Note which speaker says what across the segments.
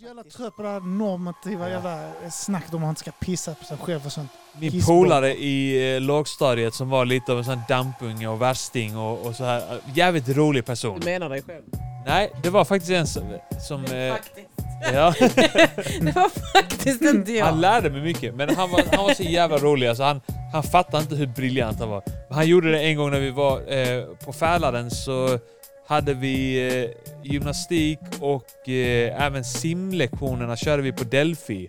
Speaker 1: så jävla trött på det här normativa jävla eh, snacket om att man inte ska pissa på sig själv och sånt.
Speaker 2: Min
Speaker 1: Kissboll.
Speaker 2: polare i eh, lågstadiet som var lite av en sån här dampung och värsting och, och så här. eh, Jävligt rolig person.
Speaker 3: Du menar dig själv?
Speaker 2: Nej, det var faktiskt en som... som eh,
Speaker 3: Faktiskt.
Speaker 2: ja,
Speaker 3: det var faktiskt inte jag.
Speaker 2: han lärde mig mycket, men han var, han var så jävla rolig. Alltså, han, han fattade inte hur briljant han var. Men han gjorde det en gång när vi var eh, på Fälaren så hade vi eh, gymnastik och eh, även simlektionerna körde vi på Delphi.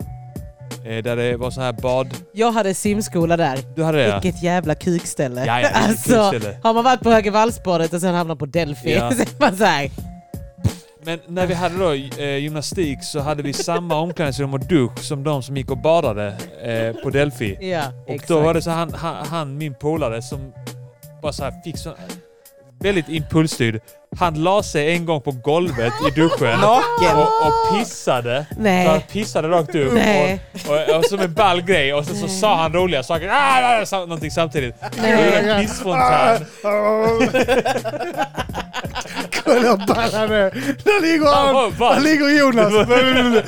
Speaker 2: Eh, där det var så här bad...
Speaker 3: Jag hade simskola där.
Speaker 2: Du hade det? ja?
Speaker 3: Vilket jävla kukställe.
Speaker 2: Ja, ja, vilket
Speaker 3: alltså,
Speaker 2: kukställe.
Speaker 3: Har man varit på Högervallsbadet och sen hamnat på Delphi,
Speaker 2: Ja.
Speaker 3: så är man såhär...
Speaker 2: Men när vi hade då eh, gymnastik så hade vi samma omklädningsrum och dusch som de som gick och badade eh, på Delphi.
Speaker 3: Ja,
Speaker 2: Och
Speaker 3: exakt.
Speaker 2: då var det så han, han, han min polare, som bara så här fick så Väldigt impulsstyrd. Han la sig en gång på golvet i duschen
Speaker 3: Naken.
Speaker 2: och, och pissade. Så han
Speaker 3: Nej.
Speaker 2: pissade rakt upp
Speaker 3: Nej.
Speaker 2: och, och, och som en ball grej och sen så sa han roliga saker. Ah, ah, sa- någonting samtidigt. Det gjorde en pissfontän.
Speaker 1: Kolla ballarna nu! Där ligger
Speaker 2: Han var
Speaker 1: han!
Speaker 2: vass.
Speaker 1: Där ligger Jonas!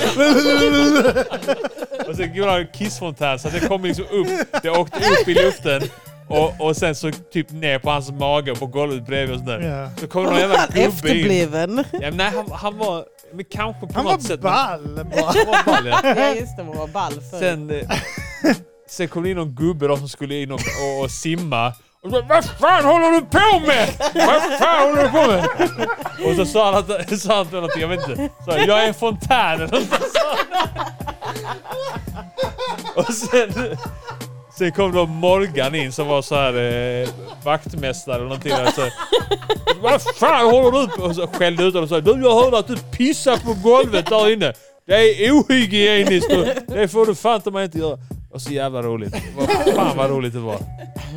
Speaker 2: Och sen gjorde han en kissfontän så att det kom liksom upp. Det åkte upp i luften och, och sen så typ ner på hans mage och på golvet bredvid och sådär.
Speaker 1: Ja.
Speaker 2: Så kom
Speaker 3: Var
Speaker 2: någon jävla
Speaker 3: han
Speaker 2: gubbe in.
Speaker 3: efterbliven?
Speaker 2: Ja, men nej, han, han var... Men kanske på
Speaker 1: Han
Speaker 2: något sätt...
Speaker 1: var ball bara.
Speaker 2: Han var ball, ja.
Speaker 3: ja just det, man var ball förr.
Speaker 2: Sen, eh, sen kom det in någon gubbe då som skulle in och, och, och simma. Och så, Vad fan håller du på med? Vad fan håller du på med? Och så sa han, att, sa han någonting, jag vet inte. Så, jag är en fontän eller något sånt. Och sen, sen kom då Morgan in som var så här eh, vaktmästare eller någonting. Där, så, Vad fan håller du på Och så skällde ut honom och sa du jag hörde att du pissar på golvet där inne. Det är ohygieniskt och det får du fan ta mig inte göra. Och så jävla roligt. Vad fan vad roligt det var.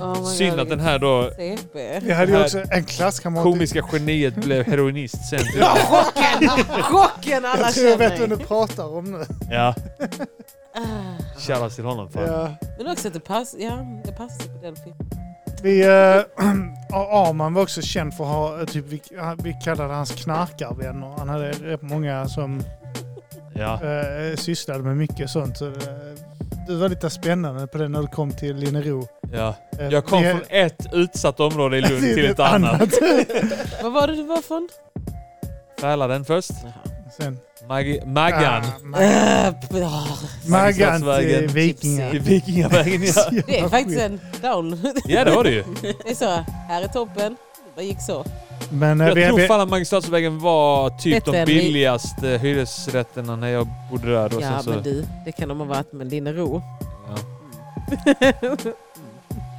Speaker 3: Oh my
Speaker 2: Synd
Speaker 3: God,
Speaker 2: att den
Speaker 3: vilket
Speaker 2: här då
Speaker 3: CP.
Speaker 1: Jag hade ju också en klasskamrat.
Speaker 2: komiska geniet blev heroinist sen.
Speaker 3: Chocken alla
Speaker 1: Jag tror jag vet
Speaker 3: känner! Ah.
Speaker 1: vad du pratar om nu.
Speaker 2: Ja. Shoutout till honom fan.
Speaker 1: Ja.
Speaker 3: Men också att det passar ja, det passar sig på Delphi.
Speaker 1: Vi, äh, Arman var också känd för att ha, eh, typ, vi, han- vi kallade hans knarkarvänner. Han hade rätt många som
Speaker 2: Ja.
Speaker 1: äh, sysslade med mycket sånt. Så, det- det var lite spännande på det när du kom till Linnero.
Speaker 2: ja.
Speaker 1: Eh,
Speaker 2: Jag kom
Speaker 1: vi-
Speaker 2: från ett utsatt område i Lund till
Speaker 1: typ
Speaker 2: ett annat.
Speaker 3: Vad var det du var från?
Speaker 2: Fälaren först.
Speaker 1: Sen,
Speaker 2: Mag- Maggan.
Speaker 1: Ah, Mag-
Speaker 3: Äh, p- ah,
Speaker 1: Maggan till
Speaker 2: Maggan.
Speaker 1: Vikingar.
Speaker 2: Till Vikingavägen ja.
Speaker 3: Typ det är faktiskt en down.
Speaker 2: Ja det var det ju.
Speaker 3: Det är så, här är toppen. Det bara gick så.
Speaker 1: Men, eh,
Speaker 2: Jag
Speaker 1: vi,
Speaker 2: tror
Speaker 1: vi,
Speaker 2: fan att Magistratsvägen var typ
Speaker 3: Bättre
Speaker 2: de
Speaker 3: än vi-
Speaker 2: billigaste hyresrätterna när jag bodde där. Och
Speaker 3: Ja
Speaker 2: sen
Speaker 3: men
Speaker 2: så,
Speaker 3: du, det kan de ha varit med Linnero.
Speaker 2: ja.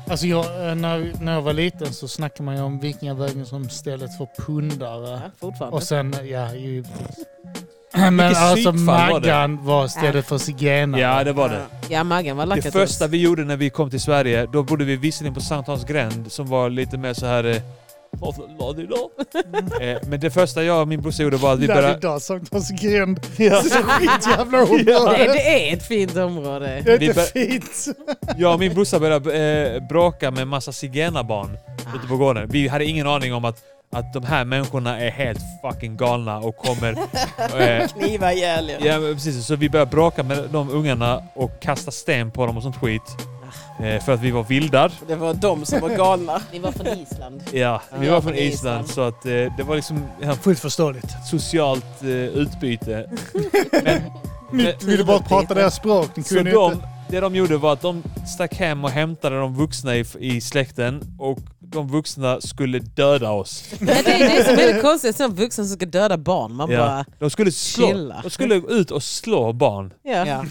Speaker 1: alltså jag, eh, när, när jag var liten så snackade man ju om Vikingavägen som stället för pundare.
Speaker 3: Ja, fortfarande.
Speaker 1: Och sen, ja, ju... Men alltså
Speaker 2: psykfall var det?
Speaker 1: Maggan var stället för zigenare.
Speaker 2: ja det var det.
Speaker 3: Ja, Maggan var lackad
Speaker 2: Det
Speaker 3: till oss.
Speaker 2: första vi gjorde när vi kom till Sverige, då bodde vi visserligen på Sankt Hans gränd som var lite mer så här... eh, Eh, Men det första jag och min brorsa gjorde var att vi
Speaker 1: Där
Speaker 2: började...
Speaker 1: idag, Sankt Hans gränd.
Speaker 2: Ja.
Speaker 1: Så skitjävla område.
Speaker 3: Nej, det är ett fint område.
Speaker 1: Det är
Speaker 2: Vi
Speaker 1: inte
Speaker 2: bör-
Speaker 1: fint.
Speaker 2: Jag och min brorsa började eh, bråka med massa zigenarbarn
Speaker 3: Ah.
Speaker 2: ute på gården. Vi hade ingen aning om att, att de här människorna är helt fucking galna och kommer... Eh,
Speaker 3: Kniva ihjäl er.
Speaker 2: ja, men precis. Så vi började bråka med de ungarna och kasta sten på dem och sånt skit. Eh, för att vi var vildar.
Speaker 4: Det var de som var galna.
Speaker 3: Ni var från Island.
Speaker 2: Ja, vi
Speaker 3: Ja,
Speaker 2: var från
Speaker 3: från Island.
Speaker 2: Island så att eh, det var liksom ja,
Speaker 1: Fullt förståeligt.
Speaker 2: socialt eh, utbyte.
Speaker 1: Ni ville bara prata deras språk. Ni
Speaker 2: Så
Speaker 1: kunde
Speaker 2: de,
Speaker 1: inte.
Speaker 2: det de gjorde var att de stack hem och hämtade de vuxna i, i släkten och de vuxna skulle döda oss.
Speaker 3: Men det, det är så väldigt konstigt, som vuxen som ska döda barn. Man
Speaker 2: Ja.
Speaker 3: bara,
Speaker 2: De skulle slå,
Speaker 3: chilla.
Speaker 2: de skulle ut och slå barn.
Speaker 3: ja.
Speaker 4: Ja.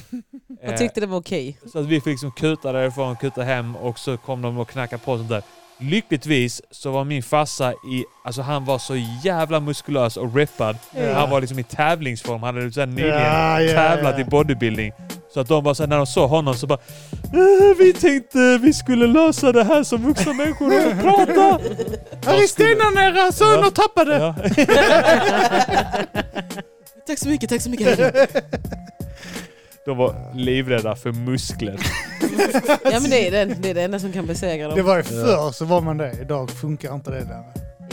Speaker 2: Eh,
Speaker 3: Jag tyckte det var okej.
Speaker 2: Så att vi fick liksom kuta därifrån, kuta hem och så kom de och knackade på och sånt där. Lyckligtvis så var min farsa i, alltså han var så jävla muskulös och rippad.
Speaker 1: Ja.
Speaker 2: Han var liksom i tävlingsform, han hade så här nyligen
Speaker 1: Ja, ja,
Speaker 2: tävlat
Speaker 1: ja.
Speaker 2: i bodybuilding. Så att de bara så här, när de såg honom så bara "Eh, Vi tänkte vi skulle lösa det här som vuxna människor och prata.
Speaker 1: Här är stenarna era söner
Speaker 2: Ja.
Speaker 1: tappade!
Speaker 2: Ja.
Speaker 4: Tack så mycket, tack så mycket.
Speaker 2: De var livrädda för muskler.
Speaker 3: Ja men det är, den, det är det enda som kan besegra
Speaker 1: Det
Speaker 3: dem.
Speaker 1: var ju förr så var man det. Idag funkar inte det där.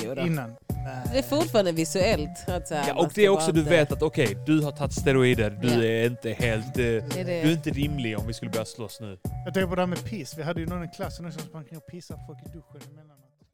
Speaker 3: Jo då.
Speaker 1: Innan. Nej.
Speaker 3: Det är fortfarande visuellt. Att säga,
Speaker 2: Ja, och det är också, du vet att okej, du har tagit steroider, du
Speaker 3: Ja.
Speaker 2: är inte helt... eh,
Speaker 3: Det är
Speaker 2: Du är
Speaker 3: det.
Speaker 2: inte rimlig om vi skulle börja slåss nu.
Speaker 1: Jag tänker på det här med piss. Vi hade ju någon i klassen också som sprang kring och pissade på folk i duschen emellanåt.